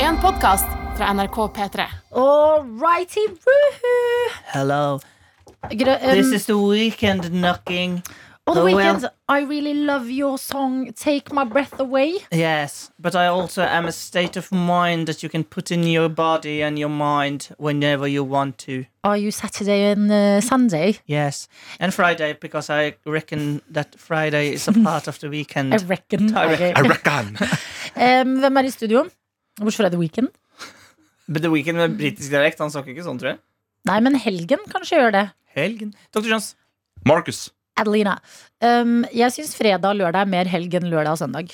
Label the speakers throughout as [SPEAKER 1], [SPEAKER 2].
[SPEAKER 1] en podkast fra NRK P3.
[SPEAKER 2] All righty, woohoo!
[SPEAKER 3] Hello,
[SPEAKER 2] Grø- um,
[SPEAKER 3] this is the weekend knocking.
[SPEAKER 2] on the
[SPEAKER 3] oh, well.
[SPEAKER 2] weekend, I really love your song Take My Breath Away.
[SPEAKER 3] Yes, but I also am a state of mind that you can put in your body and your mind whenever you want to.
[SPEAKER 2] Are you Saturday and uh, Sunday?
[SPEAKER 3] Yes, and Friday because I reckon that Friday is a part of the weekend.
[SPEAKER 2] I reckon.
[SPEAKER 3] I reckon.
[SPEAKER 2] Ok.
[SPEAKER 4] I reckon.
[SPEAKER 2] Um, hvem er i studio? Hvorfor er det weekend?
[SPEAKER 3] But the weekend med britisk dialekt, han snakker ikke sånn, tror jeg.
[SPEAKER 2] Nei, men helgen kanskje gjør det.
[SPEAKER 3] Helgen. Dr. Johns,
[SPEAKER 4] Marcus.
[SPEAKER 2] Adelina. Um, jeg syns fredag og lørdag er mer helg enn lørdag og søndag.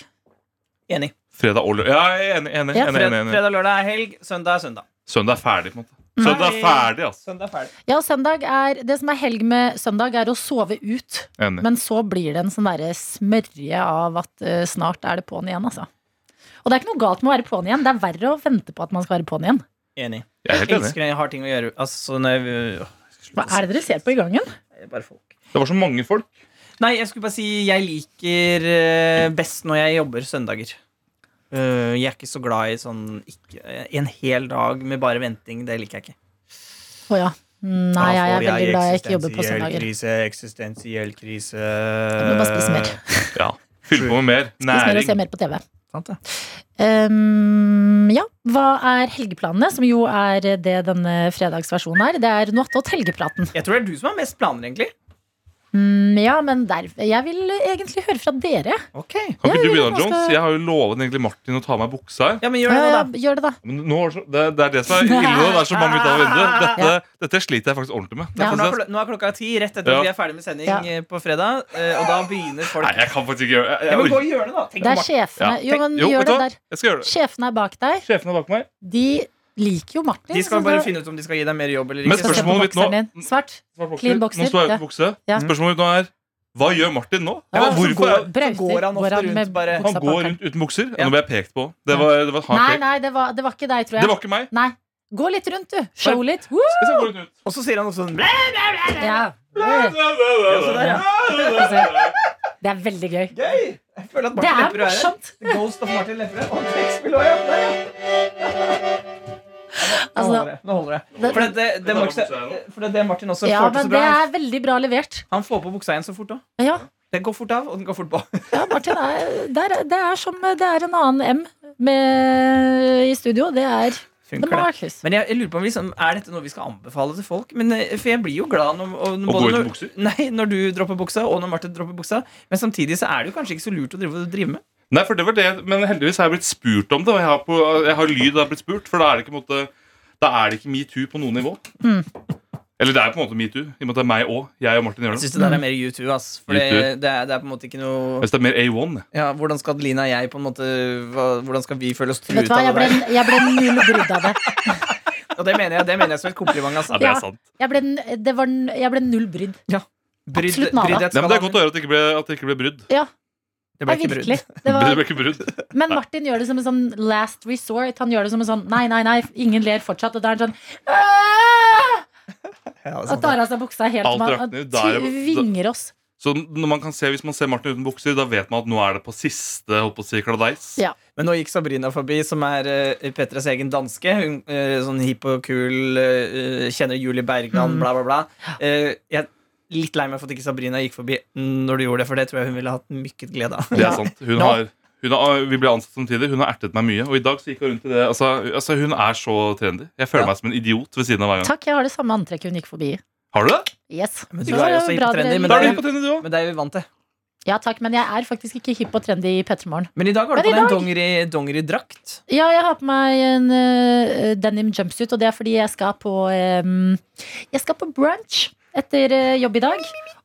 [SPEAKER 3] enig.
[SPEAKER 4] Fredag og lørdag. Ja, jeg er enig. enig,
[SPEAKER 2] Ja.
[SPEAKER 4] enig,
[SPEAKER 3] Fred,
[SPEAKER 4] enig, enig.
[SPEAKER 3] fredag, lørdag er helg, søndag er søndag.
[SPEAKER 4] Søndag er ferdig, på en måte. Søndag er
[SPEAKER 3] Nei.
[SPEAKER 4] ferdig, altså.
[SPEAKER 3] Søndag er ferdig.
[SPEAKER 2] Ja, søndag er, Det som er helg med søndag, er å sove ut.
[SPEAKER 4] Enig.
[SPEAKER 2] Men så blir det en sånn derre smørje av at eh, snart er det på'n igjen, altså. Og det er ikke noe galt med å være på'n igjen. Det er verre å vente på at man skal være på'n igjen.
[SPEAKER 3] Enig.
[SPEAKER 4] Jeg er helt enig.
[SPEAKER 3] elsker når jeg har ting å gjøre. Altså, når jeg,
[SPEAKER 2] Hva er det dere ser på i gangen?
[SPEAKER 3] det? Bare folk.
[SPEAKER 4] Det var så mange folk.
[SPEAKER 3] Nei, jeg skulle bare si jeg liker eh, best når jeg jobber søndager. Eh, jeg er ikke så glad i sånn ikke, en hel dag med bare venting. Det liker jeg ikke.
[SPEAKER 2] Å ja. Mm, Nei,
[SPEAKER 3] Da
[SPEAKER 2] jeg
[SPEAKER 3] får
[SPEAKER 2] er veldig glad jeg ikke jobber på
[SPEAKER 3] eksistensiell
[SPEAKER 2] søndager.
[SPEAKER 3] Krise, eksistensiell krise.
[SPEAKER 2] Jeg må bare spise mer.
[SPEAKER 4] Ja. Fyll på med mer.
[SPEAKER 2] Spise mer og se
[SPEAKER 4] Næring.
[SPEAKER 2] mer på TV.
[SPEAKER 3] Sant det?
[SPEAKER 2] Um, ja, hva er helgeplanene? Som jo er det denne fredagsversjonen er. Det er noe attåt helgepraten.
[SPEAKER 3] Jeg tror det er du som har mest planer, egentlig.
[SPEAKER 2] Mm, ja, men der, jeg vil egentlig høre fra dere.
[SPEAKER 3] Ok
[SPEAKER 4] Kan
[SPEAKER 2] Ja,
[SPEAKER 4] ikke du
[SPEAKER 2] vi-
[SPEAKER 4] begynne,
[SPEAKER 2] nå skal-
[SPEAKER 4] Jones? Jeg har jo lovet egentlig Martin å ta av meg buksa her.
[SPEAKER 3] Ja, men gjør
[SPEAKER 2] Ja,
[SPEAKER 3] det nå,
[SPEAKER 2] ja,
[SPEAKER 3] da.
[SPEAKER 2] Eh, gjør det, da.
[SPEAKER 4] Men nå er det, så- det, det er det som er ille. nå. Det er så mange ut av vinduet. Dette, dette sliter jeg faktisk ordentlig med. Det
[SPEAKER 2] Ja.
[SPEAKER 4] er
[SPEAKER 3] For nå, er
[SPEAKER 4] faktisk-
[SPEAKER 3] klo- nå er klokka ti, rett etter
[SPEAKER 4] Ja.
[SPEAKER 3] at vi er ferdig med sending
[SPEAKER 2] Ja.
[SPEAKER 3] eh, på fredag. eh, Og da begynner folk
[SPEAKER 4] Nei, jeg kan faktisk ikke gjøre
[SPEAKER 3] Ja,
[SPEAKER 4] jeg, jeg,
[SPEAKER 3] men gå
[SPEAKER 4] orker-
[SPEAKER 3] i hjørnet, da. Tenk
[SPEAKER 2] Det
[SPEAKER 3] på
[SPEAKER 2] er
[SPEAKER 3] Martin.
[SPEAKER 2] sjefene. Jo, men
[SPEAKER 4] Jo, vet
[SPEAKER 2] gjør
[SPEAKER 4] du
[SPEAKER 2] det
[SPEAKER 4] hva?
[SPEAKER 2] der.
[SPEAKER 4] Jeg skal gjøre det.
[SPEAKER 2] Sjefene er bak deg.
[SPEAKER 4] Sjefen er bak meg.
[SPEAKER 2] De liker jo Martin.
[SPEAKER 3] De skal
[SPEAKER 2] liksom så
[SPEAKER 3] bare
[SPEAKER 2] da-
[SPEAKER 3] finne ut om de skal gi deg mer jobb eller
[SPEAKER 4] Men
[SPEAKER 3] ikke.
[SPEAKER 2] Skal se på
[SPEAKER 4] spørsmålet mitt nå-
[SPEAKER 2] bokseren din. Svart.
[SPEAKER 4] Svart bokser.
[SPEAKER 2] Clean bokser,
[SPEAKER 4] Nå står jeg
[SPEAKER 2] ja.
[SPEAKER 4] uten bukse.
[SPEAKER 2] Ja.
[SPEAKER 4] Spørsmålet mitt nå er hva gjør Martin
[SPEAKER 2] Ja,
[SPEAKER 4] nå? Hva- Hvorfor er,
[SPEAKER 2] Brauter.
[SPEAKER 3] går han ofte rundt bare-
[SPEAKER 2] buksa
[SPEAKER 4] han går
[SPEAKER 2] bak her.
[SPEAKER 4] rundt uten bukser?
[SPEAKER 3] Ja.
[SPEAKER 4] Nå ble jeg pekt på. Det var, det var et hardt
[SPEAKER 2] Nei,
[SPEAKER 4] pek.
[SPEAKER 2] nei, det var, det var ikke deg, tror jeg.
[SPEAKER 4] Det var ikke meg.
[SPEAKER 2] Nei. Gå litt rundt, du. Show litt. Woo!
[SPEAKER 4] Jeg skal gå rundt ut.
[SPEAKER 3] Og så sier han også sånn
[SPEAKER 2] Ja. Det er veldig gøy.
[SPEAKER 3] Gøy! Jeg føler at
[SPEAKER 2] Det
[SPEAKER 3] Martin
[SPEAKER 2] er
[SPEAKER 3] Lepperød er her.
[SPEAKER 2] morsomt.
[SPEAKER 3] Ghost of Martin Lepperød. Og trekkspill også, ja. Der, ja. Nå
[SPEAKER 2] Altså,
[SPEAKER 3] holder det. Nå holder det.
[SPEAKER 2] det-
[SPEAKER 3] For det, det, det,
[SPEAKER 4] tar
[SPEAKER 3] Martin-
[SPEAKER 4] buksa her nå.
[SPEAKER 3] for det, er det Martin også
[SPEAKER 2] ja,
[SPEAKER 3] får til
[SPEAKER 2] men det
[SPEAKER 3] så bra
[SPEAKER 2] er veldig bra levert.
[SPEAKER 3] Han får på buksa igjen så fort òg.
[SPEAKER 2] Ja,
[SPEAKER 3] Den går fort av, og den går fort på.
[SPEAKER 2] ja Martin, er, det, er, det er som Det er en annen M med, i studio. Det er The
[SPEAKER 3] Funker det?
[SPEAKER 2] Marcus.
[SPEAKER 3] Men jeg, jeg lurer på om liksom, Er dette noe vi skal anbefale til folk? Men, eh, for jeg blir jo glad når, og,
[SPEAKER 4] Å gå
[SPEAKER 3] både
[SPEAKER 4] uten
[SPEAKER 3] når-
[SPEAKER 4] bukser?
[SPEAKER 3] Nei, når du dropper buksa, og når Martin dropper buksa. Men samtidig så er det jo kanskje ikke så lurt å drive, drive med.
[SPEAKER 4] Nei, for det var det, men heldigvis har jeg blitt spurt om det. Og jeg har, på, jeg har lyd da jeg har blitt spurt, for da er det ikke, på en måte, da er det ikke metoo på noe nivå.
[SPEAKER 2] Mm.
[SPEAKER 4] Eller det er på en måte metoo, i og med at det er meg òg. Jeg og Martin gjør
[SPEAKER 3] Jeg
[SPEAKER 4] det.
[SPEAKER 3] syns det der er mer U2, ass. For det,
[SPEAKER 4] U2.
[SPEAKER 3] det, er, det er på en måte ikke noe
[SPEAKER 4] Hvis det er mer A1.
[SPEAKER 3] ja, Hvordan skal Adelina og jeg på en måte hva, Hvordan skal vi føle oss
[SPEAKER 2] Vet
[SPEAKER 3] truet
[SPEAKER 2] du hva, jeg
[SPEAKER 3] av det
[SPEAKER 2] ble,
[SPEAKER 3] der?
[SPEAKER 2] jeg ble null brydd av det.
[SPEAKER 3] Og det mener jeg, det mener jeg som et kompliment, altså.
[SPEAKER 4] Ja, det
[SPEAKER 2] Ja.
[SPEAKER 4] er sant.
[SPEAKER 2] Jeg ble, n- det var, n- jeg ble null brydd.
[SPEAKER 3] Brydd-
[SPEAKER 2] absolutt nada.
[SPEAKER 3] bryddhet
[SPEAKER 4] Nei, men det
[SPEAKER 3] skal
[SPEAKER 4] er
[SPEAKER 3] man-
[SPEAKER 4] godt å høre at det ikke ble, at det ikke ble brudd.
[SPEAKER 2] Ja, ja
[SPEAKER 3] det ble ikke brydd.
[SPEAKER 2] virkelig. Det
[SPEAKER 4] Det
[SPEAKER 2] var,
[SPEAKER 4] ble ikke brudd.
[SPEAKER 2] men Martin gjør det som en sånn last resort. Han gjør det som en sånn nei, nei, nei, ingen ler fortsatt. Og da er han sånn «Åh!»
[SPEAKER 3] Ja, altså.
[SPEAKER 2] Og tar av seg buksa helt
[SPEAKER 4] Alt
[SPEAKER 2] til man-
[SPEAKER 4] rakner,
[SPEAKER 2] han
[SPEAKER 4] da er det-
[SPEAKER 2] ty- vinger oss.
[SPEAKER 4] Så når man kan se, hvis man ser Martin uten bukser, da vet man at nå er det på siste holdt på å si, kladeis.
[SPEAKER 2] Ja.
[SPEAKER 3] Men nå gikk Sabrina forbi, som er uh, Petras egen danske. Hun eh, sånn hipp og kul, eh, kjenner Julie
[SPEAKER 2] Mm.
[SPEAKER 3] Bergland, bla, bla, bla. Eh, jeg er litt lei meg for at ikke Sabrina gikk forbi når du gjorde det, for det tror jeg hun ville hatt mykket glede av.
[SPEAKER 4] Det er sant. Hun
[SPEAKER 3] Nå-
[SPEAKER 4] har, hun har, vi ble ansatt samtidig. Hun har ertet meg mye. Og i dag så gikk hun rundt i det. Altså, altså hun er så trendy. Jeg føler
[SPEAKER 3] Ja.
[SPEAKER 4] meg som en idiot ved siden av hver gang.
[SPEAKER 2] Takk, jeg har det samme antrekket hun gikk forbi i.
[SPEAKER 4] Har du det?
[SPEAKER 2] Yes.
[SPEAKER 3] Men
[SPEAKER 2] Så
[SPEAKER 3] du er jo
[SPEAKER 2] det
[SPEAKER 3] også
[SPEAKER 2] bra
[SPEAKER 3] hipp og trendy,
[SPEAKER 2] dere-
[SPEAKER 3] men
[SPEAKER 4] Da
[SPEAKER 3] det
[SPEAKER 4] er du
[SPEAKER 3] er-
[SPEAKER 4] hipp og trendy, du òg.
[SPEAKER 3] Men det er vi vant til.
[SPEAKER 2] Ja takk, men jeg er faktisk ikke hipp og trendy i P3 Morgen.
[SPEAKER 3] Men i dag har du
[SPEAKER 2] Men
[SPEAKER 3] på
[SPEAKER 2] i
[SPEAKER 3] deg en
[SPEAKER 2] dag-
[SPEAKER 3] dongeri- dongeridrakt.
[SPEAKER 2] Ja, jeg har på meg en eh, denim jumpsuit, og det er fordi jeg skal på em, Jeg skal på brunch etter eh, jobb i dag.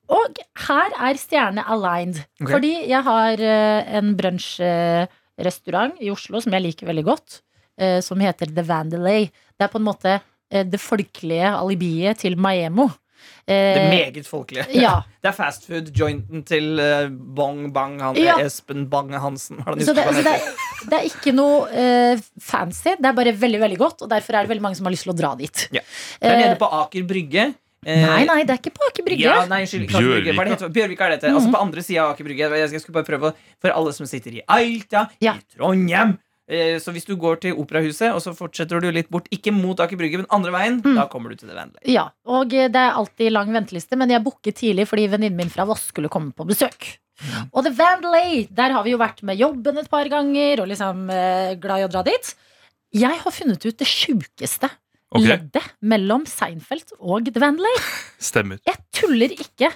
[SPEAKER 2] Og her er stjerne aligned.
[SPEAKER 3] Ok.
[SPEAKER 2] Fordi jeg har eh, en brunsjrestaurant i Oslo som jeg liker veldig godt, eh, som heter The Vandelay. Det er på en måte eh, det folkelige alibiet til Maemo.
[SPEAKER 3] Det er
[SPEAKER 2] Eh,
[SPEAKER 3] meget folkelig.
[SPEAKER 2] ja,
[SPEAKER 3] Det er fastfood-jointen til eh, Bong Bang, han eh,
[SPEAKER 2] Ja.
[SPEAKER 3] Espen Bange Hansen. Har han
[SPEAKER 2] Så det,
[SPEAKER 3] husket hva
[SPEAKER 2] så
[SPEAKER 3] han
[SPEAKER 2] det,
[SPEAKER 3] heter?
[SPEAKER 2] er, det er ikke noe eh, fancy, det er bare veldig veldig godt. Og derfor er det veldig mange som har lyst til å dra dit.
[SPEAKER 3] Ja. Det er
[SPEAKER 2] Eh,
[SPEAKER 3] nede på Aker Brygge. Eh,
[SPEAKER 2] nei, nei, det er ikke på Aker Brygge.
[SPEAKER 3] Ja, nei, unnskyld, ikke Aker Brygge.
[SPEAKER 4] Bjørvika.
[SPEAKER 3] Hva er det heter- Bjørvika er det dette. Altså på andre sida av Aker Brygge. Jeg skulle bare prøve å- For alle som sitter i Alta,
[SPEAKER 2] Ja.
[SPEAKER 3] i Trondheim Eh, Så hvis du går til Operahuset, og så fortsetter du litt bort, ikke mot Aker Brygge, men andre veien,
[SPEAKER 2] Mm.
[SPEAKER 3] da kommer du til The Vandelay.
[SPEAKER 2] Ja, og eh, det er alltid lang venteliste, men jeg booket tidlig fordi venninnen min fra Voss skulle komme på besøk. Og The Vandelay, der har vi jo vært med jobben et par ganger, og liksom eh, glad i å dra dit. Jeg har funnet ut det sjukeste
[SPEAKER 4] Ok,
[SPEAKER 2] leddet mellom Seinfeld og The Vandelay.
[SPEAKER 4] Stemmer.
[SPEAKER 2] Jeg tuller ikke.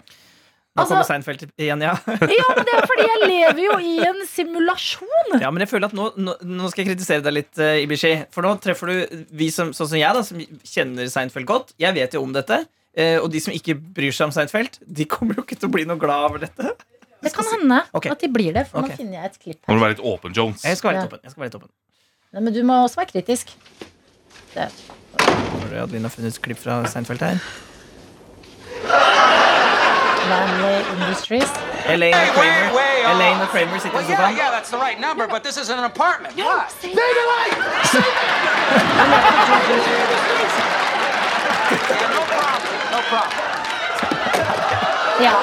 [SPEAKER 3] Nå
[SPEAKER 2] Altså-
[SPEAKER 3] kommer Seinfeld igjen, ja.
[SPEAKER 2] Ja, men det er fordi jeg lever jo i en simulasjon.
[SPEAKER 3] Ja, men jeg føler at nå, nå, nå skal jeg kritisere deg litt, eh, Ibishi. For nå treffer du vi som, sånn som jeg, da, som kjenner Seinfeld godt. Jeg vet jo om dette. Eh, og de som ikke bryr seg om Seinfeld, de kommer jo ikke til å bli noe glad over dette.
[SPEAKER 2] Det kan hende
[SPEAKER 3] Ok.
[SPEAKER 2] at de blir det, for
[SPEAKER 3] Ok.
[SPEAKER 2] nå finner jeg et klipp
[SPEAKER 4] Må
[SPEAKER 2] her.
[SPEAKER 4] du være litt åpen, Jones.
[SPEAKER 3] Jeg skal være
[SPEAKER 2] Ja.
[SPEAKER 3] litt åpen. Jeg skal være litt åpen.
[SPEAKER 2] Nei, men du må også være kritisk. Det.
[SPEAKER 3] Har du Adeline har funnet et klipp fra Seinfeld her?
[SPEAKER 2] Vandelay Industries.
[SPEAKER 3] Elaine og
[SPEAKER 5] Way,
[SPEAKER 3] Kramer,
[SPEAKER 5] way, way off.
[SPEAKER 3] Elaine og Kramer sitter
[SPEAKER 5] Well,
[SPEAKER 3] i
[SPEAKER 5] yeah,
[SPEAKER 3] sofaen.
[SPEAKER 5] yeah, that's the right number, but this is an apartment. Why? Yeah, no problem. No problem.
[SPEAKER 2] Ja.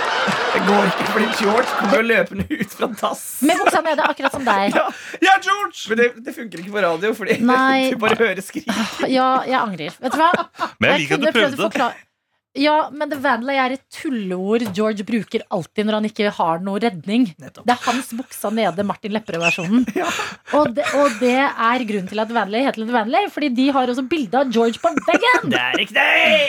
[SPEAKER 3] Det går ikke, fordi George kommer jo løpende ut fra dass.
[SPEAKER 2] Med buksa nede, akkurat som deg.
[SPEAKER 3] Ja,
[SPEAKER 4] Ja, George!
[SPEAKER 3] men det, det funker ikke på radio, fordi
[SPEAKER 2] Nei.
[SPEAKER 3] du bare hører skrik.
[SPEAKER 2] Ja, jeg angrer. Vet du hva?
[SPEAKER 4] Men jeg liker at
[SPEAKER 2] kunne
[SPEAKER 4] du
[SPEAKER 2] prøvd å
[SPEAKER 4] prøvde.
[SPEAKER 2] forklare- Ja, men The Vandelay er et tulleord George bruker alltid når han ikke har noe redning.
[SPEAKER 3] Nettopp.
[SPEAKER 2] Det er hans buksa nede, Martin Lepperød-versjonen. Og, det- og det er grunnen til at The Vandelay heter The Vandelay, fordi de har også bilde av George på veggen!
[SPEAKER 3] Det er riktig!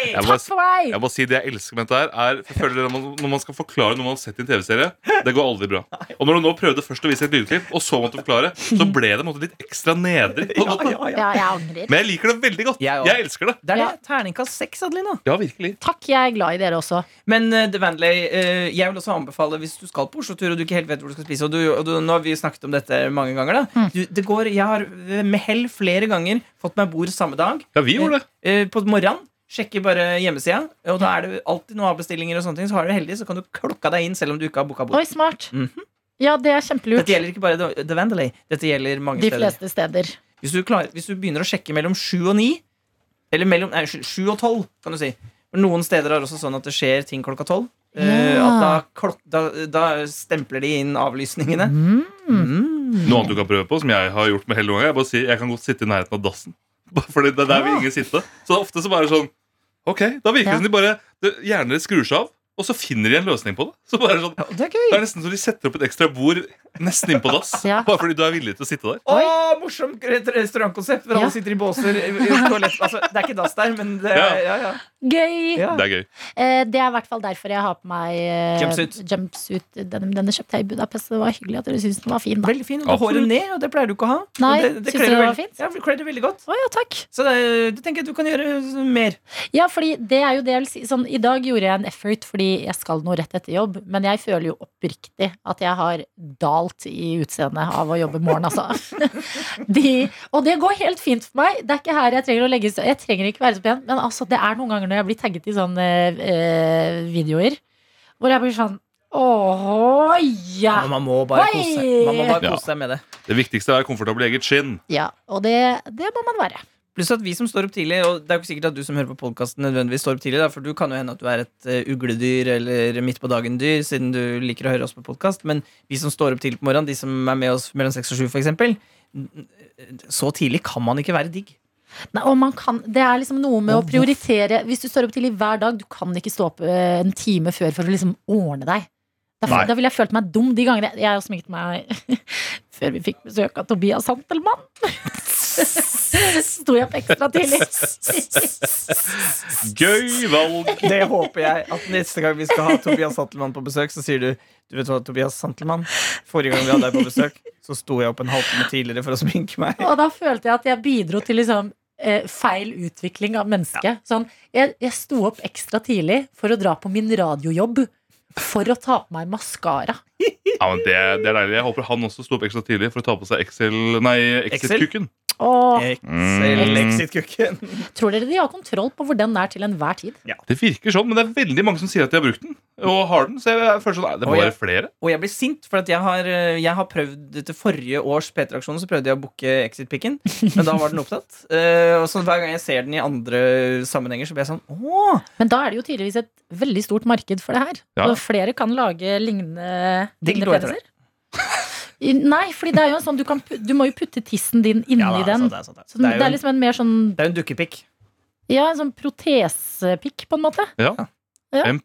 [SPEAKER 4] Jeg må,
[SPEAKER 2] Takk for meg!
[SPEAKER 4] jeg må si Det jeg elsker med dette, her er for jeg føler det når man, når man skal forklare noe man har sett i en TV-serie. Det går aldri bra. Og når du nå prøvde først å vise et lydklipp, og så måtte forklare, så ble det på en måte litt ekstra nedrig. på en
[SPEAKER 3] Ja, ja,
[SPEAKER 4] måte.
[SPEAKER 3] ja.
[SPEAKER 2] Ja, jeg angrer.
[SPEAKER 4] Men jeg liker det veldig godt.
[SPEAKER 3] Jeg også.
[SPEAKER 4] Jeg elsker det.
[SPEAKER 3] Det er
[SPEAKER 2] Ja.
[SPEAKER 3] det. Terningkast seks, Adelina.
[SPEAKER 4] Ja, virkelig.
[SPEAKER 2] Takk, jeg er glad i dere også.
[SPEAKER 3] Men eh, The Vandelay, eh, jeg vil også anbefale hvis du skal på Oslo-tur og du ikke helt vet hvor du skal spise Og, du, og du, nå har vi snakket om dette mange ganger. da
[SPEAKER 2] Mm.
[SPEAKER 3] du, det går, Jeg har eh, med hell flere ganger fått meg bord samme dag.
[SPEAKER 4] Ja, vi gjorde det.
[SPEAKER 3] Eh, på morgenen sjekker bare hjemmesida, og da er det alltid noen avbestillinger. og sånne ting Så har du heldig, så kan du klokka deg inn selv om du ikke har booka bord.
[SPEAKER 2] Oi, smart.
[SPEAKER 3] Mhm.
[SPEAKER 2] Ja, det er kjempelurt.
[SPEAKER 3] Dette gjelder ikke bare The, The Vandelay. Dette gjelder mange
[SPEAKER 2] De
[SPEAKER 3] steder.
[SPEAKER 2] fleste steder.
[SPEAKER 3] Hvis du, klarer, hvis du begynner å sjekke mellom sju og ni Eller mellom, nei, unnskyld, sju og tolv, kan du si. For Noen steder er også sånn at det skjer ting klokka tolv. eh,
[SPEAKER 2] Ja.
[SPEAKER 3] at da, klok da, da stempler de inn avlysningene. Mm.
[SPEAKER 4] Noe annet du kan prøve på, som jeg har gjort med hele gangen, jeg bare sier, jeg kan godt sitte i nærheten av dassen. Bare Fordi det er der vil ingen sitte. Så det er ofte så bare sånn Ok, da virker
[SPEAKER 2] Ja.
[SPEAKER 4] det som de bare det- Hjernen deres skrur seg av, og så finner de en løsning på det. Så bare sånn,
[SPEAKER 3] Ja, det er
[SPEAKER 4] Det
[SPEAKER 3] gøy!
[SPEAKER 4] er nesten så de setter opp et ekstra bord nesten innpå dass.
[SPEAKER 2] Ja.
[SPEAKER 4] Bare fordi du er villig til å sitte der.
[SPEAKER 3] Å, morsomt rett- restaurantkonsept hvor
[SPEAKER 2] Ja.
[SPEAKER 3] alle sitter i båser. i- i toalett. Altså, det er ikke dass der, men det er, ja, ja.
[SPEAKER 2] Gøy!
[SPEAKER 3] Ja.
[SPEAKER 4] Det er gøy.
[SPEAKER 2] Eh, Det er i hvert fall derfor jeg har på meg eh,
[SPEAKER 3] Jumpsuit.
[SPEAKER 2] jumpsuit. Denne, denne kjøpte jeg i Budapest. og Det var hyggelig at dere syntes den var fin. Da.
[SPEAKER 3] Veldig fin. Og du har håret ned, og det pleier du ikke å ha. Og
[SPEAKER 2] Nei,
[SPEAKER 3] det,
[SPEAKER 2] synes
[SPEAKER 3] det
[SPEAKER 2] du
[SPEAKER 3] kler
[SPEAKER 2] det var
[SPEAKER 3] veldig-
[SPEAKER 2] fint?
[SPEAKER 3] Ja, det kler det veldig godt.
[SPEAKER 2] Å ja, takk.
[SPEAKER 3] Så det, er- det tenker jeg at du kan gjøre mer.
[SPEAKER 2] Ja, fordi det er jo det jeg vil si. Sånn, I dag gjorde jeg en effort fordi jeg skal noe rett etter jobb, men jeg føler jo oppriktig at jeg har dalt i utseendet av å jobbe morgen, altså. De, og det går helt fint for meg. Det er ikke her jeg trenger å legge Jeg trenger ikke være så pen, men altså, det er noen ganger når jeg blir tagget i sånne eh, videoer, hvor jeg blir sånn Åh, ja!
[SPEAKER 3] Men man må bare
[SPEAKER 2] Oi!
[SPEAKER 3] kose seg. Man må bare
[SPEAKER 4] Ja.
[SPEAKER 3] kose seg med det.
[SPEAKER 4] Det viktigste er komfortabel i eget skinn.
[SPEAKER 2] Ja, og det, det må man være.
[SPEAKER 3] Pluss at vi som står opp tidlig, og det er jo ikke sikkert at du som hører på podkasten nødvendigvis står opp tidlig, da, for du kan jo hende at du er et eh, ugledyr eller midt på dagen-dyr, siden du liker å høre oss på podkast, men vi som står opp tidlig på morgenen, de som er med oss mellom seks og sju, for eksempel, n- n- så tidlig kan man ikke være digg.
[SPEAKER 2] Nei, og man kan, det er liksom noe med å
[SPEAKER 3] Og hvor-
[SPEAKER 2] prioritere Hvis du står opp tidlig hver dag, du kan ikke stå opp eh, en time før for å liksom ordne deg. Da,
[SPEAKER 4] Nei.
[SPEAKER 2] da ville jeg følt meg dum de gangene jeg, jeg har sminket meg før vi fikk besøk av Tobias Santelmann. Sto jeg opp ekstra tidlig.
[SPEAKER 4] Gøy valg!
[SPEAKER 3] Det håper jeg at neste gang vi skal ha Tobias Santelmann på besøk, så sier du Du vet hva, Tobias Santelmann, forrige gang vi hadde deg på besøk, så sto jeg opp en halvtime tidligere for å sminke meg.
[SPEAKER 2] Og da følte jeg at jeg bidro til liksom eh, feil utvikling av mennesket. Sånn, jeg, jeg sto opp ekstra tidlig for å dra på min radiojobb for å ta på meg maskara.
[SPEAKER 4] Ja, men det, det er deilig. Jeg håper han også sto opp ekstra tidlig for å ta på seg Excel, nei, Exit-kuken.
[SPEAKER 2] Åh,
[SPEAKER 3] Excel, exit-kukken.
[SPEAKER 2] Eh, tror dere de har kontroll på hvor den er til enhver tid?
[SPEAKER 4] Det virker sånn, men det er veldig mange som sier at de har brukt den. Og har den, så jeg føler sånn, nei, det må
[SPEAKER 3] Å, ja.
[SPEAKER 4] være flere.
[SPEAKER 3] Og jeg blir sint, for at jeg har, jeg har prøvd til forrige års P3-aksjon Så prøvde jeg å booke Exit-pikken, men da var den opptatt. Eh, og så Hver gang jeg ser den i andre sammenhenger, så blir jeg sånn Å!
[SPEAKER 2] Men da er det jo tydeligvis et veldig stort marked for det her.
[SPEAKER 4] Ja.
[SPEAKER 2] Og flere kan lage lignende
[SPEAKER 3] De
[SPEAKER 2] lignende
[SPEAKER 3] går etter det.
[SPEAKER 2] peniser. Nei, fordi det er jo en sånn du, kan, pu- du må jo putte tissen din inni
[SPEAKER 3] Ja, da,
[SPEAKER 2] den.
[SPEAKER 3] sant, det er sant, det.
[SPEAKER 2] Så den-
[SPEAKER 3] Det er jo
[SPEAKER 2] det er
[SPEAKER 3] en-
[SPEAKER 2] liksom en mer sånn
[SPEAKER 3] Det er jo en dukkepikk.
[SPEAKER 2] Ja, en sånn protesepikk, på en måte.
[SPEAKER 4] Ja.
[SPEAKER 2] Ja.
[SPEAKER 4] En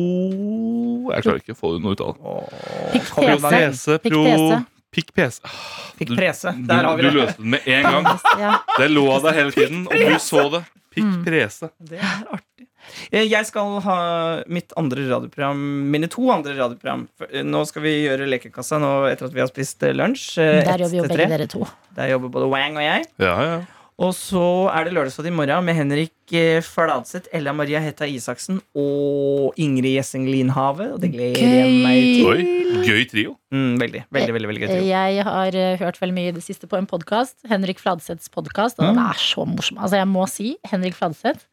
[SPEAKER 4] pro Jeg klarer ikke å få noe ut av det.
[SPEAKER 3] Kom igjen, Marie.
[SPEAKER 2] Piktese.
[SPEAKER 4] Pese, pro
[SPEAKER 2] Piktese.
[SPEAKER 4] Pikk pese. Ah,
[SPEAKER 3] Fikk
[SPEAKER 4] Du-
[SPEAKER 3] prese.
[SPEAKER 4] Du,
[SPEAKER 3] Der har vi
[SPEAKER 4] du
[SPEAKER 3] det.
[SPEAKER 4] løste den med en gang.
[SPEAKER 2] Ja.
[SPEAKER 4] Det lå der hele tiden, og du så det. Pikk prese.
[SPEAKER 3] Det er artig. Eh, Jeg skal ha mitt andre radioprogram Mine to andre radioprogram. For, eh, Nå skal vi gjøre Lekekassa nå etter at vi har spist eh, lunsj. eh, ett
[SPEAKER 2] Der jobber jo
[SPEAKER 3] til
[SPEAKER 2] begge
[SPEAKER 3] tre.
[SPEAKER 2] dere to.
[SPEAKER 3] Der jobber både Wang og jeg.
[SPEAKER 4] Ja, ja.
[SPEAKER 3] Og så er det Lørdagsrådet i morgen med Henrik eh, Fladseth, Ella Maria Hetta Isaksen og Ingrid Gjessing Linhave. Og det gleder jeg
[SPEAKER 2] Gøy.
[SPEAKER 3] meg til.
[SPEAKER 4] Oi, gøy trio.
[SPEAKER 3] Mm, veldig, veldig, veldig, veldig gøy. trio.
[SPEAKER 2] Jeg har eh, hørt veldig mye i det siste på en podkast, Henrik Fladseths podkast,
[SPEAKER 3] Mm.
[SPEAKER 2] og den er så morsom. Altså, jeg må si Henrik Fladseth.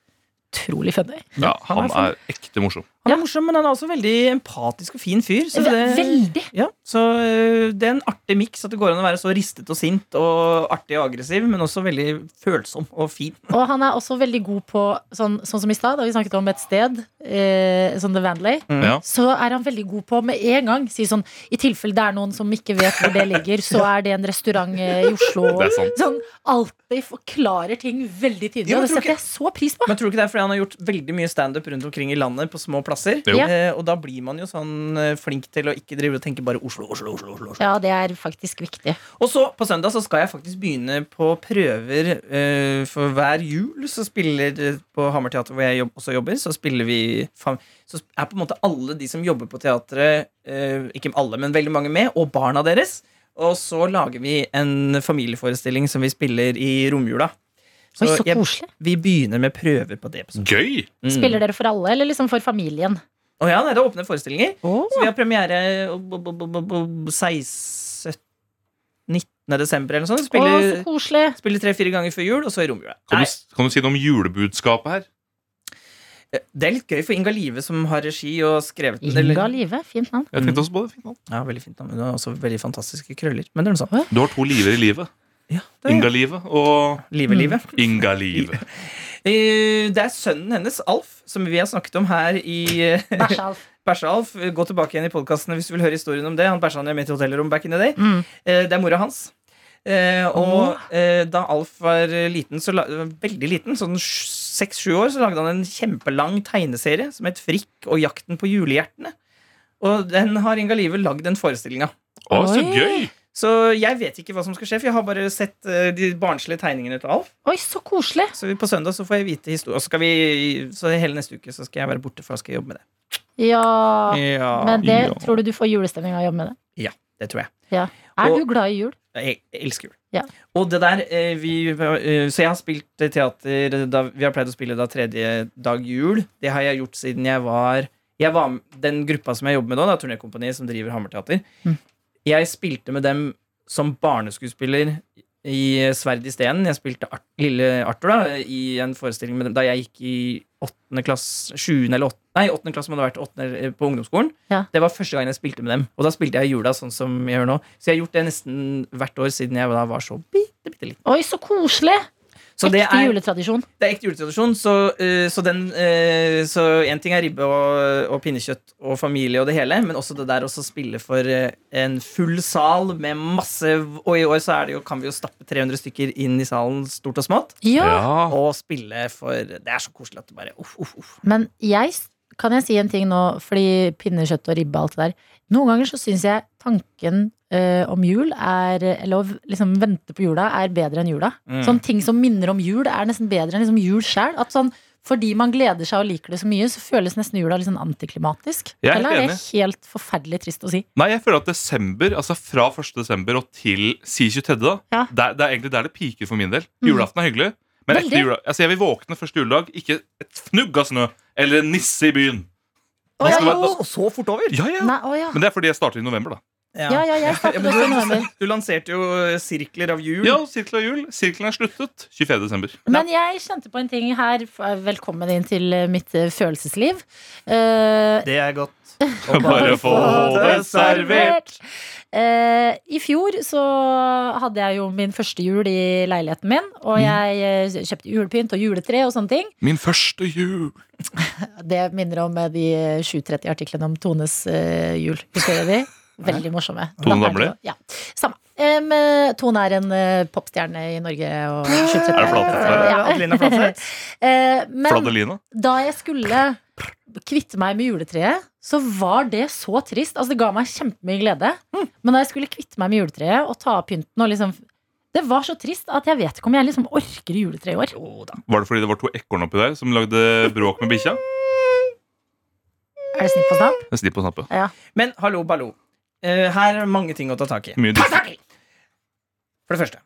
[SPEAKER 2] Utrolig funny.
[SPEAKER 4] Ja,
[SPEAKER 3] han er
[SPEAKER 4] han er ekte morsom.
[SPEAKER 2] Eh,
[SPEAKER 3] Han er morsom, men han er også veldig empatisk og fin fyr. Så det,
[SPEAKER 2] Veldig.
[SPEAKER 3] ja, så eh, det er en artig miks at det går an å være så ristet og sint og artig og aggressiv, men også veldig følsom og fin.
[SPEAKER 2] Og han er også veldig god på, sånn, sånn som i stad, da vi snakket om et sted, eh, som The Vanley,
[SPEAKER 3] Mm.
[SPEAKER 4] Ja.
[SPEAKER 2] så er han veldig god på med en gang si sånn I tilfelle det er noen som ikke vet hvor det ligger, så er det en restaurant eh, i Oslo.
[SPEAKER 4] Det er sant.
[SPEAKER 2] Sånn alltid forklarer ting veldig tydelig,
[SPEAKER 3] Ja, men
[SPEAKER 2] og det
[SPEAKER 3] tror
[SPEAKER 2] setter jeg så pris på.
[SPEAKER 3] Men tror du ikke det er fordi han har gjort veldig mye standup rundt omkring i landet på små plasser?
[SPEAKER 4] Jo.
[SPEAKER 3] Eh, og da blir man jo sånn eh, flink til å ikke drive og tenke bare Oslo, Oslo, Oslo. Oslo, Oslo.
[SPEAKER 2] Ja, det er faktisk viktig.
[SPEAKER 3] Og så på søndag så skal jeg faktisk begynne på prøver eh, for hver jul. Så spiller eh, på Hammer teater, hvor jeg jobb, også jobber, så spiller vi fam- Så sp- er på en måte alle de som jobber på teatret, eh, ikke alle, men veldig mange med, og barna deres. Og så lager vi en familieforestilling som vi spiller i romjula.
[SPEAKER 2] Oi, så
[SPEAKER 3] jeg,
[SPEAKER 2] koselig.
[SPEAKER 3] vi begynner med prøver på det. på søndag.
[SPEAKER 4] Gøy!
[SPEAKER 3] Mm.
[SPEAKER 2] Spiller dere for alle, eller liksom for familien?
[SPEAKER 3] Å ja, nei, det er åpne forestillinger.
[SPEAKER 2] Oh.
[SPEAKER 3] Så vi har premiere b- b- b- b- 16 19. desember eller noe sånt.
[SPEAKER 2] så
[SPEAKER 3] Spiller,
[SPEAKER 2] koselig.
[SPEAKER 3] spiller tre-fire ganger før jul, og så i romjula.
[SPEAKER 4] Kan
[SPEAKER 3] Nei,
[SPEAKER 4] du, kan du si noe om julebudskapet her?
[SPEAKER 3] eh, Det er litt gøy for Inga Live, som har regi og skrevet den. eller-
[SPEAKER 2] Inga Live, fint navn.
[SPEAKER 4] Jeg tenkte også på det. Fint navn.
[SPEAKER 3] Ja, veldig fint navn. Hun har også veldig fantastiske krøller. Men det er noe sånt.
[SPEAKER 4] Du har to liver i livet.
[SPEAKER 3] Ja, det er-
[SPEAKER 4] Inga-livet og
[SPEAKER 3] Live, livet.
[SPEAKER 4] Mm. Inga-livet.
[SPEAKER 3] Eh, Det er sønnen hennes, Alf, som vi har snakket om her i eh,
[SPEAKER 2] Bæsjalf.
[SPEAKER 3] Bæsja Alf. Gå tilbake igjen i podkastene hvis du vil høre historien om det. Han bæsja ned mitt hotellrom back in the day.
[SPEAKER 2] Mm.
[SPEAKER 3] Eh, Det er mora hans. Eh, og eh, da Alf var eh, liten, så la, veldig liten, sånn sj- seks-sju år, så lagde han en kjempelang tegneserie som het Frikk og jakten på julehjertene. Og den har Inga Live lagd en forestilling av.
[SPEAKER 4] Å, så
[SPEAKER 2] Oi.
[SPEAKER 4] gøy!
[SPEAKER 3] Så jeg vet ikke hva som skal skje, for jeg har bare sett eh, de barnslige tegningene til Alf.
[SPEAKER 2] Oi, så koselig.
[SPEAKER 3] Så vi- på søndag så får jeg vite historien. Og så, skal vi, så hele neste uke så skal jeg være borte, for da skal jeg jobbe med det.
[SPEAKER 2] Ja.
[SPEAKER 3] Ja,
[SPEAKER 2] Men det
[SPEAKER 4] Ja.
[SPEAKER 2] tror du du får julestemning av å jobbe med det?
[SPEAKER 3] det tror jeg.
[SPEAKER 2] Er
[SPEAKER 3] Og-
[SPEAKER 2] du glad i jul?
[SPEAKER 3] Jeg elsker jul.
[SPEAKER 2] Ja.
[SPEAKER 3] Og det der, eh, vi, eh, så jeg har spilt eh, teater da, Vi har pleid å spille da tredje dag jul. Det har jeg gjort siden jeg var Jeg var med- Den gruppa som jeg jobber med nå, da, Turnékompaniet, som driver Hammerteater,
[SPEAKER 2] Mm.
[SPEAKER 3] jeg spilte med dem som barneskuespiller i eh, Sverd i stenen. Jeg spilte Art, Lille Arthur da, i en forestilling med dem da jeg gikk i åttende klasse Sjuende eller åttende Nei, åttende klasse må det ha vært. Åttende, eh, på ungdomsskolen. Det var første gang jeg spilte med dem. Og da spilte jeg i jula sånn som jeg gjør nå. Så jeg har gjort det nesten hvert år siden jeg da var så bitte, bitte liten.
[SPEAKER 2] Oi, så koselig!
[SPEAKER 3] Så det
[SPEAKER 2] Ekte
[SPEAKER 3] er,
[SPEAKER 2] juletradisjon.
[SPEAKER 3] det er ekte juletradisjon. Så, eh, så den eh, Så én ting er ribbe og, og pinnekjøtt og familie og det hele, men også det der også spille for eh, en full sal med masse Og i år så er det jo, kan vi jo stappe 300 stykker inn i salen, stort og smått,
[SPEAKER 4] Ja.
[SPEAKER 3] og spille for Det er så koselig at det bare uff, uff, uff.
[SPEAKER 2] Men jeg, kan jeg si en ting nå, fordi pinnekjøtt og ribbe og alt det der. Noen ganger så syns jeg tanken eh, om jul er Eller å v- liksom vente på jula er bedre enn jula.
[SPEAKER 3] Mm.
[SPEAKER 2] Sånn ting som minner om jul, er nesten bedre enn liksom jul sjæl. At sånn fordi man gleder seg og liker det så mye, så føles nesten jula litt sånn antiklimatisk.
[SPEAKER 4] Jeg er helt
[SPEAKER 2] Eller er det helt forferdelig trist å si?
[SPEAKER 4] Nei, jeg føler at desember, altså fra 1. desember og til si 23. da,
[SPEAKER 2] Ja. Mm.
[SPEAKER 4] der, det er egentlig der det piker for min del. Julaften er hyggelig. Men etter
[SPEAKER 2] Veldig.
[SPEAKER 4] jula, altså jeg vil våkne første juledag, ikke et fnugg av snø eller en nisse i byen.
[SPEAKER 2] Å,
[SPEAKER 4] skal
[SPEAKER 2] ja,
[SPEAKER 4] man-
[SPEAKER 2] jo.
[SPEAKER 3] Og så fort over!
[SPEAKER 4] Ja, ja.
[SPEAKER 2] Nei, å, ja.
[SPEAKER 4] Men det er fordi jeg starter i november, da.
[SPEAKER 2] ja, Sånn ja, jeg
[SPEAKER 3] Ja,
[SPEAKER 2] startet
[SPEAKER 3] men
[SPEAKER 2] også i
[SPEAKER 3] du,
[SPEAKER 2] november.
[SPEAKER 3] du lanserte jo eh, sirkler av jul.
[SPEAKER 4] Ja, sirkel av jul. Sirkelen er sluttet 24. desember.
[SPEAKER 2] Men jeg kjente på en ting her. Velkommen inn til mitt eh, følelsesliv. Eh,
[SPEAKER 3] Det er godt.
[SPEAKER 4] Bare få det servert.
[SPEAKER 2] Eh, I fjor så hadde jeg jo min første jul i leiligheten min.
[SPEAKER 4] Mm.
[SPEAKER 2] Og jeg eh, kjøpte julepynt og juletre og sånne ting.
[SPEAKER 4] Min første jul.
[SPEAKER 2] Det minner om eh, de 730 artiklene om Tones eh, jul. Husker dere de? Veldig morsomme.
[SPEAKER 4] Tone
[SPEAKER 2] Datteren
[SPEAKER 4] Damli?
[SPEAKER 2] til- Ja. Samme. Em, eh, Tone er en eh, popstjerne i Norge og skyter
[SPEAKER 4] Er det Flatseth?
[SPEAKER 2] Ja.
[SPEAKER 3] Adelina Flatseth.
[SPEAKER 2] Eh, Men
[SPEAKER 4] Fladelina.
[SPEAKER 2] da jeg skulle kvitte meg med juletreet, så var det så trist. Altså, det ga meg kjempemye glede. Men da jeg skulle kvitte meg med juletreet og ta av pynten og liksom Det var så trist at jeg vet ikke om jeg liksom orker juletre i år.
[SPEAKER 4] Var det fordi det var to ekorn oppi der som lagde bråk med bikkja?
[SPEAKER 2] Er det snitt på snap?
[SPEAKER 4] En Snipp og snappe.
[SPEAKER 3] Men hallo, ballo. Eh, her er mange ting å ta tak i.
[SPEAKER 4] Mye dritt.
[SPEAKER 3] For det første.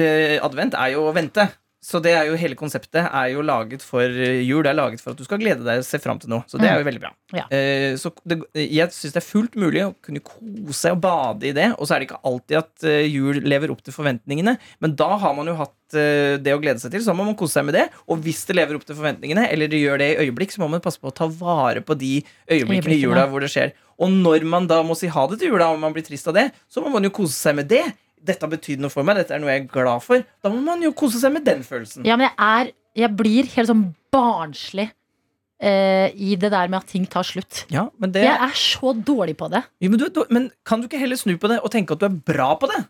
[SPEAKER 3] eh, Advent er jo å vente. Så det er jo hele konseptet er jo laget for eh, jul. Det er laget for at du skal glede deg og se fram til noe. Så det er jo veldig bra.
[SPEAKER 2] Ja.
[SPEAKER 3] Eh, så det, jeg syns det er fullt mulig å kunne kose og bade i det. Og så er det ikke alltid at eh, jul lever opp til forventningene. Men da har man jo hatt eh, det å glede seg til, så må man kose seg med det. Og hvis det lever opp til forventningene, eller det gjør det i øyeblikk, så må man passe på å ta vare på de øyeblikkene i
[SPEAKER 2] Øyeblikkene.
[SPEAKER 3] jula hvor det skjer. Og når man da må si ha det til jula, og man blir trist av det, så må man jo kose seg med det. Dette har betydd noe for meg, dette er noe jeg er glad for. Da må man jo kose seg med den følelsen.
[SPEAKER 2] Ja, men jeg er Jeg blir helt sånn barnslig eh, i det der med at ting tar slutt.
[SPEAKER 3] Ja, men, det,
[SPEAKER 2] Jeg er så dårlig på det.
[SPEAKER 3] jo, men, du, du, men kan du ikke heller snu på det og tenke at du er bra på det?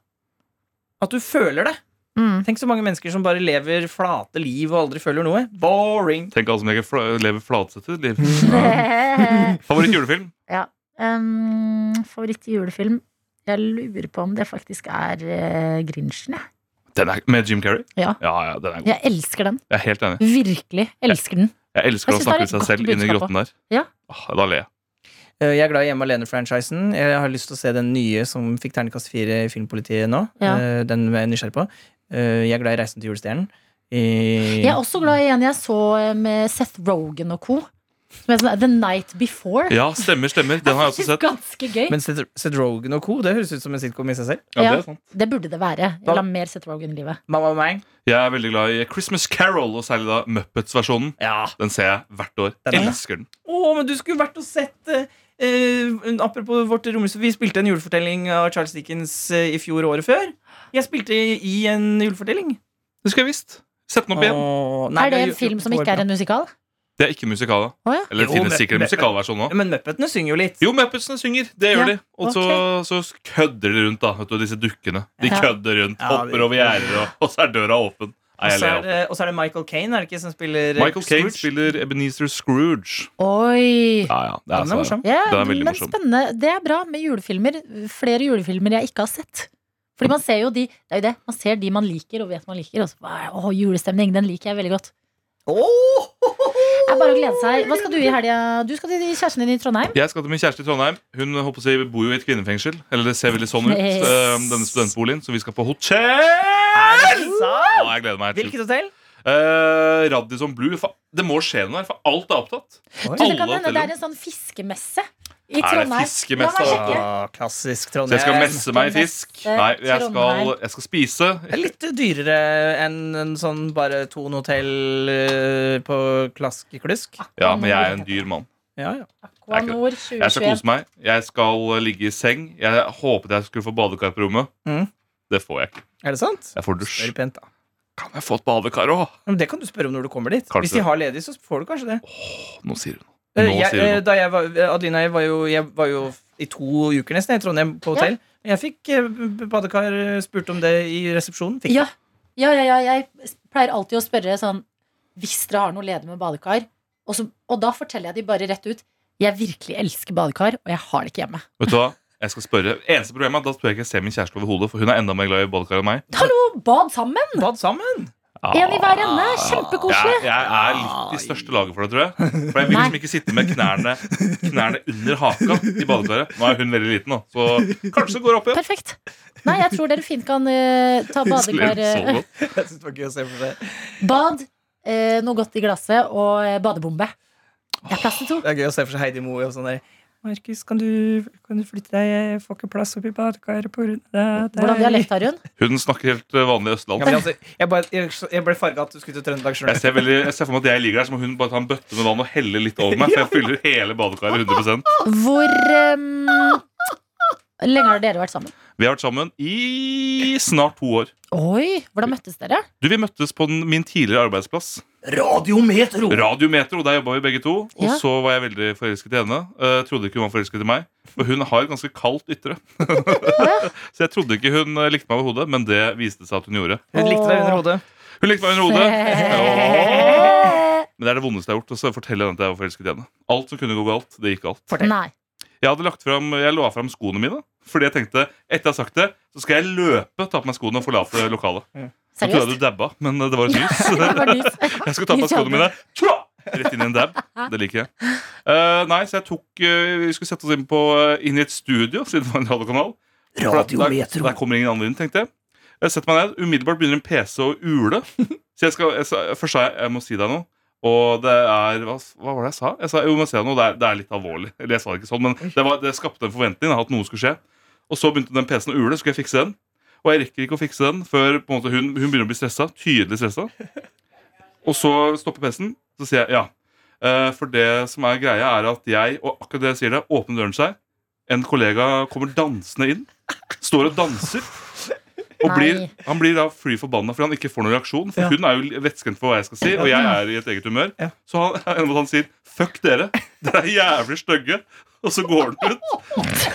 [SPEAKER 3] At du føler det?
[SPEAKER 2] Mm.
[SPEAKER 3] Tenk så mange mennesker som bare lever flate liv og aldri føler noe. Boring.
[SPEAKER 4] Tenk alle som leker fla- lever flatsete liv. Favoritt julefilm?
[SPEAKER 2] um, Eh, favoritt julefilm Jeg lurer på om det faktisk er uh, Grinchen. jeg.
[SPEAKER 4] Den er, med Jim Carrey?
[SPEAKER 2] Ja.
[SPEAKER 4] ja, ja, den er god.
[SPEAKER 2] Jeg elsker den.
[SPEAKER 4] Jeg er helt enig.
[SPEAKER 2] Virkelig elsker den.
[SPEAKER 4] Jeg elsker
[SPEAKER 2] Jeg
[SPEAKER 4] å
[SPEAKER 2] synes det er
[SPEAKER 4] snakke ut seg
[SPEAKER 2] et
[SPEAKER 4] selv
[SPEAKER 2] godt
[SPEAKER 4] inni
[SPEAKER 2] budskap
[SPEAKER 4] grotten der.
[SPEAKER 2] Ja.
[SPEAKER 4] Åh, Da ler jeg.
[SPEAKER 3] Eh, Jeg er glad i Hjemme alene-franchisen. Jeg har lyst til å se den nye som fikk terningkast fire i Filmpolitiet nå.
[SPEAKER 2] Ja.
[SPEAKER 3] Eh, Den er jeg nysgjerrig på. Eh, Jeg er glad i Reisen til julestjernen.
[SPEAKER 2] Jeg er også glad i en jeg så eh, med Seth Rogan og co. Som heter sånn The Night Before.
[SPEAKER 4] Ja, stemmer, stemmer. Den har jeg også sett.
[SPEAKER 2] Ganske gøy.
[SPEAKER 3] Men Seth Seth Rogen og co. Det høres ut som en sitcom i seg selv.
[SPEAKER 4] Ja, det
[SPEAKER 2] Ja.
[SPEAKER 4] er sant.
[SPEAKER 2] Det burde det være. Jeg vil ha mer Seth Rogan i livet.
[SPEAKER 3] Mamma og meg.
[SPEAKER 4] Jeg er veldig glad i Christmas Carol, og særlig da Muppets-versjonen.
[SPEAKER 3] Ja.
[SPEAKER 4] Den ser jeg hvert år.
[SPEAKER 3] Den er bra.
[SPEAKER 4] Elsker den.
[SPEAKER 3] Å, men du skulle vært og sett eh, eh, Apropos vårt romhus Vi spilte en julefortelling av Charles Dickens eh, i fjor og året før. Jeg spilte i, i en julefortelling.
[SPEAKER 4] Det skulle jeg visst. Sett den opp igjen.
[SPEAKER 3] Åh, nei,
[SPEAKER 2] er det
[SPEAKER 3] vi har
[SPEAKER 2] en
[SPEAKER 3] gjort-
[SPEAKER 2] film
[SPEAKER 3] gjort
[SPEAKER 2] som
[SPEAKER 3] to år
[SPEAKER 2] ikke er
[SPEAKER 3] på.
[SPEAKER 2] en musikal?
[SPEAKER 4] Det er ikke musikal, da.
[SPEAKER 2] Å ja.
[SPEAKER 4] Eller
[SPEAKER 3] Jo,
[SPEAKER 4] det finnes
[SPEAKER 3] men-
[SPEAKER 4] sikkert en
[SPEAKER 3] men-
[SPEAKER 4] musikalversjon nå.
[SPEAKER 3] Men Muppetene synger jo litt.
[SPEAKER 4] Jo, Muppetsene synger. Det gjør
[SPEAKER 2] Ja,
[SPEAKER 4] de. Og så, så kødder de rundt, da. Vet du, disse dukkene. De
[SPEAKER 2] Ja.
[SPEAKER 4] kødder rundt,
[SPEAKER 3] Ja,
[SPEAKER 4] hopper
[SPEAKER 3] det-
[SPEAKER 4] over gjerder, og, og så er døra åpen. Nei,
[SPEAKER 3] Og
[SPEAKER 4] jeg
[SPEAKER 3] så
[SPEAKER 4] ler
[SPEAKER 3] er,
[SPEAKER 4] av det.
[SPEAKER 3] det- og så er det Michael Kane, er det ikke, som spiller eh,
[SPEAKER 4] Michael Caine
[SPEAKER 3] Scrooge?
[SPEAKER 4] spiller Ebenezer Scrooge.
[SPEAKER 2] Oi!
[SPEAKER 4] Ja, ja, det
[SPEAKER 3] Ja, den
[SPEAKER 4] er,
[SPEAKER 3] er
[SPEAKER 4] så-
[SPEAKER 3] morsom.
[SPEAKER 2] Ja,
[SPEAKER 4] Den er veldig
[SPEAKER 2] men
[SPEAKER 4] morsom.
[SPEAKER 2] spennende. Det er bra med julefilmer. Flere julefilmer jeg ikke har sett. Fordi man ser jo de Det er jo det. Man ser de man liker, og vet man liker. Og så bare, Å, julestemning. Den liker jeg veldig godt.
[SPEAKER 3] Åh!
[SPEAKER 2] Det er bare å glede seg. Hva skal du i helga? Du skal til kjæresten din i Trondheim.
[SPEAKER 4] Jeg skal til min kjæreste i Trondheim. Hun håper å si, bor jo i et kvinnefengsel. Eller det ser veldig sånn ut,
[SPEAKER 2] Yes.
[SPEAKER 4] eh, denne studentboligen. Så vi skal på hotell!
[SPEAKER 3] Er det sant?
[SPEAKER 4] Ja, jeg gleder meg.
[SPEAKER 3] Hvilket hotell?
[SPEAKER 4] Uh, Radisson Blue. For, det må skje noe her, for alt er opptatt.
[SPEAKER 3] Oi.
[SPEAKER 2] Du, det kan
[SPEAKER 4] Alle
[SPEAKER 2] hende det
[SPEAKER 4] hotellene.
[SPEAKER 2] er en sånn fiskemesse i
[SPEAKER 4] det
[SPEAKER 2] Trondheim.
[SPEAKER 4] fiskemesse,
[SPEAKER 2] La meg
[SPEAKER 4] da?
[SPEAKER 2] sjekke.
[SPEAKER 3] Ah, klassisk
[SPEAKER 4] Så
[SPEAKER 3] Trondheim.
[SPEAKER 4] jeg skal messe meg i fisk.
[SPEAKER 2] Neste
[SPEAKER 4] Nei, jeg skal,
[SPEAKER 2] sånn, eh, Trondheim.
[SPEAKER 4] jeg skal spise.
[SPEAKER 3] Det er litt dyrere enn en sånn bare Thon hotell eh, på Klaskeklusk.
[SPEAKER 4] Ja, men jeg er en dyr mann.
[SPEAKER 3] Ja, ja.
[SPEAKER 2] Aquanor
[SPEAKER 4] Jeg skal
[SPEAKER 2] 2021.
[SPEAKER 4] kose meg. Jeg skal eh, ligge i seng. Jeg håpet jeg skulle få badekar på rommet.
[SPEAKER 2] Mm.
[SPEAKER 3] Mhm.
[SPEAKER 4] Det får jeg ikke.
[SPEAKER 3] Er det sant?
[SPEAKER 4] Jeg får dusj.
[SPEAKER 3] Spør pent, da.
[SPEAKER 4] Kan jeg få et badekar òg?
[SPEAKER 3] Ja, Men det kan du spørre om når du kommer dit.
[SPEAKER 4] Kanskje.
[SPEAKER 3] Hvis de har ledig, så får du kanskje det.
[SPEAKER 4] Nå sier du noe.
[SPEAKER 3] Eh,
[SPEAKER 4] Nå
[SPEAKER 3] jeg,
[SPEAKER 4] sier
[SPEAKER 3] eh,
[SPEAKER 4] du noe.
[SPEAKER 3] da jeg var, eh, Adelina, jeg var, jo, jeg var jo i to uker nesten i Trondheim på hotell. Jeg fikk eh, b- badekar, eh, spurte om det i resepsjonen. Fikk.
[SPEAKER 2] Ja. Ja, ja, ja, jeg pleier alltid å spørre sånn Hvis dere har noe ledig med badekar og, så, og da forteller jeg de bare rett ut Jeg virkelig elsker badekar, og jeg har det ikke hjemme
[SPEAKER 4] Vet du hva? Jeg skal spørre. Eneste problemet er at da tror jeg ikke jeg ser min kjæreste over hodet, for hun er enda mer glad i badekar enn meg.
[SPEAKER 2] Hallo, bad sammen!
[SPEAKER 3] det. Bad sammen!
[SPEAKER 2] En i hver ende,
[SPEAKER 4] Ah,
[SPEAKER 2] kjempekoselig
[SPEAKER 4] Jeg, jeg er litt i største laget for det, tror jeg. For jeg vil liksom ikke sitte med knærne, knærne under haka i badekaret. Nå er hun veldig liten, da, så kanskje det går opp igjen.
[SPEAKER 2] Perfekt Nei, jeg tror dere fint kan eh, ta badekar
[SPEAKER 4] Så
[SPEAKER 2] eh,
[SPEAKER 4] godt.
[SPEAKER 3] Jeg synes det var gøy å se for seg.
[SPEAKER 2] Bad, eh, noe godt i glasset og eh, badebombe Det er plass til to
[SPEAKER 3] Det er gøy å se for seg Heidi Moe og sånn der. Markus, kan, du- kan du flytte deg? Jeg får ikke plass oppi badekaret pga.
[SPEAKER 2] Hvordan dialekt har hun?
[SPEAKER 4] Hun snakker helt eh, vanlig
[SPEAKER 3] Ja, men
[SPEAKER 4] østland.
[SPEAKER 3] altså, jeg, bare, jeg, jeg ble farga at du skulle til Trøndelag. skjønner
[SPEAKER 4] Jeg
[SPEAKER 3] du.
[SPEAKER 4] ser, veldig, jeg ser for meg at jeg ligger der, så må hun bare ta en bøtte med vann og helle litt over meg. For jeg fyller hele badekaret 100
[SPEAKER 2] Hvor eh, lenge har dere vært sammen?
[SPEAKER 4] Vi har vært sammen i snart to år.
[SPEAKER 2] Oi, hvordan møttes dere?
[SPEAKER 4] Du, Vi møttes på den, min tidligere arbeidsplass.
[SPEAKER 3] Radiometro!
[SPEAKER 4] Radiometro, der jobba vi begge to. Og
[SPEAKER 2] Ja.
[SPEAKER 4] så var jeg veldig forelsket i henne. Eh, trodde ikke hun var forelsket i meg. For hun har et ganske kaldt ytre. så jeg trodde ikke hun eh, likte meg over hodet, men det viste seg at hun gjorde.
[SPEAKER 3] Hun likte deg under hodet.
[SPEAKER 4] Hun likte meg under hodet! Åh. Men det er det vondeste jeg har gjort. Og så fortelle henne at jeg var forelsket i henne. Alt som kunne gå galt, det gikk galt.
[SPEAKER 2] Nei.
[SPEAKER 4] Jeg hadde lagt frem, jeg la fram skoene mine fordi jeg tenkte etter jeg har sagt det, så skal jeg løpe, ta på meg skoene og forlate lokalet. Så trodde jeg
[SPEAKER 2] Seriøst?
[SPEAKER 4] du dabba, men eh, det var et lys.
[SPEAKER 2] Det var nys.
[SPEAKER 4] Jeg skal ta på meg skoene mine. Tja! Rett inn i en dab. Det liker jeg. Eh, nei, så jeg tok eh, Vi skulle sette oss inn, på, eh, inn i et studio, siden det var en radiokanal. For at Der, der kommer ingen andre inn, tenkte jeg. Jeg setter meg ned, Umiddelbart begynner en PC å ule. Så jeg skal, jeg, sa- Først sa jeg jeg må si deg noe. Og det er Hva, hva var det jeg sa? Jeg sa jo, men se noe, det er, det er litt alvorlig. Eller jeg sa det ikke sånn, men det, var, det skapte en forventning da, at noe skulle skje. Og så begynte den PC-en å ule, så skulle jeg fikse den. Og jeg rekker ikke å fikse den før på en måte, hun, hun begynner å bli stressa. Tydelig stressa. Og så stopper PC-en. Så sier jeg ja. Eh, For det som er greia, er at jeg, og akkurat det jeg sier det, åpner døren seg. En kollega kommer dansende inn. Står og danser. Og
[SPEAKER 2] Nei.
[SPEAKER 4] blir, han blir da fly forbanna fordi han ikke får noen reaksjon. For
[SPEAKER 3] Ja.
[SPEAKER 4] hun er jo vettskremt for hva jeg skal si, og jeg er i et eget humør.
[SPEAKER 3] Ja.
[SPEAKER 4] Så han, ender med at han sier 'fuck dere', dere er jævlig stygge. Og så går han ut.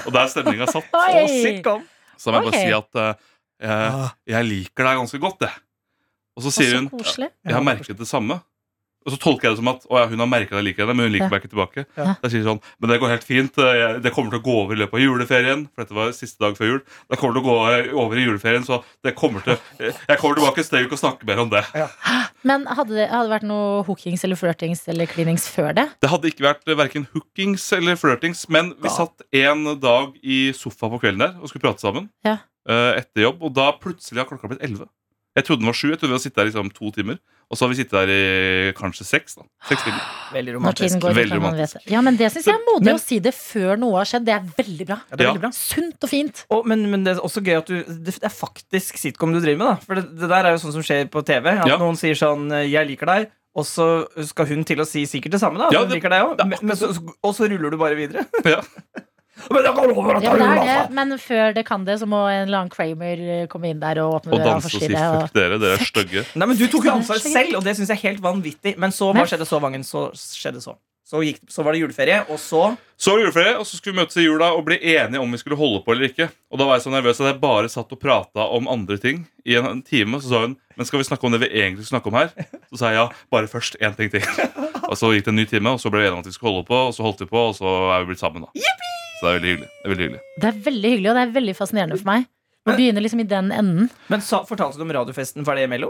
[SPEAKER 4] Og der er stemninga satt.
[SPEAKER 3] Å,
[SPEAKER 2] Oi.
[SPEAKER 3] sitcom.
[SPEAKER 4] Så må jeg
[SPEAKER 2] Ok.
[SPEAKER 4] bare si at eh, jeg, jeg liker deg ganske godt, jeg. Og så sier
[SPEAKER 2] Så
[SPEAKER 4] hun
[SPEAKER 2] koselig.
[SPEAKER 4] jeg har merket det samme. Og så tolker jeg det som at å, ja, hun har merket at jeg liker henne, men hun liker
[SPEAKER 2] Ja.
[SPEAKER 4] meg ikke tilbake.
[SPEAKER 3] Ja.
[SPEAKER 4] Da sier hun sånn, men det går helt fint. eh, Det kommer til å gå over i løpet av juleferien. For dette var siste dag før jul. Det kommer til å gå eh, over i juleferien, så det kommer til, eh, jeg kommer tilbake neste uke og snakker mer om det.
[SPEAKER 2] Men hadde det hadde det vært noe hookings eller flørtings eller klinings før det?
[SPEAKER 4] Det hadde ikke vært eh, hverken hookings eller flørtings, men vi satt en dag i sofa på kvelden der og skulle prate sammen
[SPEAKER 2] Ja.
[SPEAKER 4] eh, etter jobb, og da plutselig har klokka blitt elleve. Jeg trodde den var sju. Jeg trodde vi hadde sittet der i liksom, to timer. Og så har vi sittet der i kanskje seks. da. Seks timer.
[SPEAKER 3] Veldig
[SPEAKER 2] Når tiden
[SPEAKER 3] romantisk.
[SPEAKER 2] går,
[SPEAKER 4] Veldig
[SPEAKER 2] kan man vet det. Ja, men det syns jeg er modig
[SPEAKER 3] Men-
[SPEAKER 2] å si det før noe har skjedd. Det er veldig bra.
[SPEAKER 3] Ja, det er
[SPEAKER 4] Ja.
[SPEAKER 3] veldig bra.
[SPEAKER 2] Sunt og fint.
[SPEAKER 3] Og, men, men det er også gøy at du Det er faktisk sitcom du driver med, da. For det, det der er jo sånn som skjer på TV. At
[SPEAKER 4] Ja.
[SPEAKER 3] noen sier sånn 'Jeg liker deg', og så skal hun til å si sikkert det samme. da at
[SPEAKER 4] Ja,
[SPEAKER 3] hun
[SPEAKER 4] det-
[SPEAKER 3] liker deg også.
[SPEAKER 4] det er
[SPEAKER 3] Men- men så, og så ruller du bare videre.
[SPEAKER 4] Ja.
[SPEAKER 3] Men jeg kan love deg
[SPEAKER 2] Ja,
[SPEAKER 3] at jeg
[SPEAKER 2] det er
[SPEAKER 3] ruller,
[SPEAKER 2] det,
[SPEAKER 3] altså.
[SPEAKER 2] men før det kan det, så må en eller annen Kramer eh, komme inn der og åpne døra
[SPEAKER 4] Og
[SPEAKER 2] og
[SPEAKER 4] danse og si
[SPEAKER 2] forstyrre. Og...
[SPEAKER 4] 'fuck dere, dere er stygge'.
[SPEAKER 3] Nei, men Du tok jo ansvar
[SPEAKER 2] Det er så
[SPEAKER 3] selv, og det syns jeg er helt vanvittig. Men så
[SPEAKER 2] Men-
[SPEAKER 3] hva skjedde så, Vangen? Så skjedde så. Så, gikk, så var det juleferie, og så
[SPEAKER 4] Så var det juleferie, og så skulle vi møtes i jula og bli enige om vi skulle holde på eller ikke. Og da var jeg så nervøs at jeg bare satt og prata om andre ting i en, en time. Så sa hun 'men skal vi snakke om det vi egentlig skulle snakke om her?' Så sa jeg ja, bare først én ting til. Og så gikk det en ny time, og så ble vi enige om at vi skulle holde på, og så holdt vi på, og så er vi blitt sammen, da. Så det er veldig hyggelig. Det er veldig hyggelig.
[SPEAKER 2] Det er veldig hyggelig, og det er veldig fascinerende for meg. Å begynne liksom i den enden.
[SPEAKER 3] Men sa, fortalte du om radiofesten for det imellom?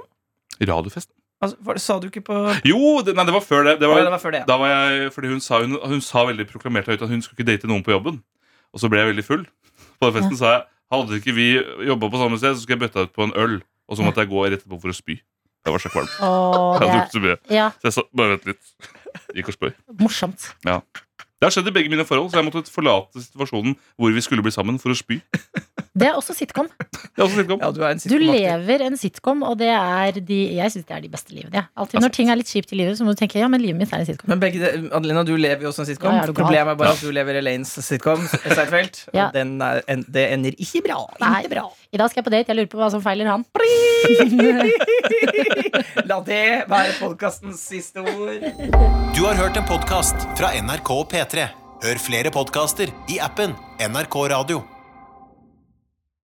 [SPEAKER 4] Radiofesten?
[SPEAKER 3] Altså, for, sa du ikke på
[SPEAKER 4] Jo! Det, nei, det var før det. det
[SPEAKER 3] Å,
[SPEAKER 4] var,
[SPEAKER 3] ja, det var før det, ja.
[SPEAKER 4] Da var jeg, fordi hun sa, hun, hun sa veldig proklamert her ute at hun skulle ikke date noen på jobben. Og så ble jeg veldig full. På den festen sa jeg hadde ikke vi jobba på samme sted, så skulle jeg bøtta ut på en øl. Og så måtte jeg gå rett etterpå for å spy. Jeg var så kvalm.
[SPEAKER 2] Og
[SPEAKER 4] Jeg hadde
[SPEAKER 2] det
[SPEAKER 4] drukket så mye.
[SPEAKER 2] ja,
[SPEAKER 4] Så jeg sa bare vent litt. Gikk og spøy.
[SPEAKER 2] morsomt.
[SPEAKER 4] Det har skjedd i begge mine forhold, så jeg måtte forlate situasjonen hvor vi skulle bli sammen, for å spy. Det
[SPEAKER 2] Det er også sitcom.
[SPEAKER 4] er også litt
[SPEAKER 3] Ja,
[SPEAKER 4] gammelt.
[SPEAKER 3] du er en
[SPEAKER 2] Du
[SPEAKER 3] sitcom-aktig.
[SPEAKER 2] lever en sitcom, og det er de Jeg syns det er de beste livene. jeg. Alltid
[SPEAKER 3] Altså-
[SPEAKER 2] når ting er litt kjipt i livet, så må du tenke ja, men livet mitt er en sitcom.
[SPEAKER 3] Men begge, de- Adelina, du lever jo også en sitcom.
[SPEAKER 2] Ja, er du gal?
[SPEAKER 3] Problemet er bare at du lever i Elaines sitcom. Seinfeld,
[SPEAKER 2] Ja.
[SPEAKER 3] Og den er, en, det ender ikke bra.
[SPEAKER 2] Nei.
[SPEAKER 3] Ikke bra.
[SPEAKER 2] I dag skal jeg på date, jeg lurer på hva som feiler han.
[SPEAKER 3] La det være podkastens siste ord.
[SPEAKER 6] Du har hørt en podcast fra NRK P3. Hør flere podcaster i appen NRK Radio.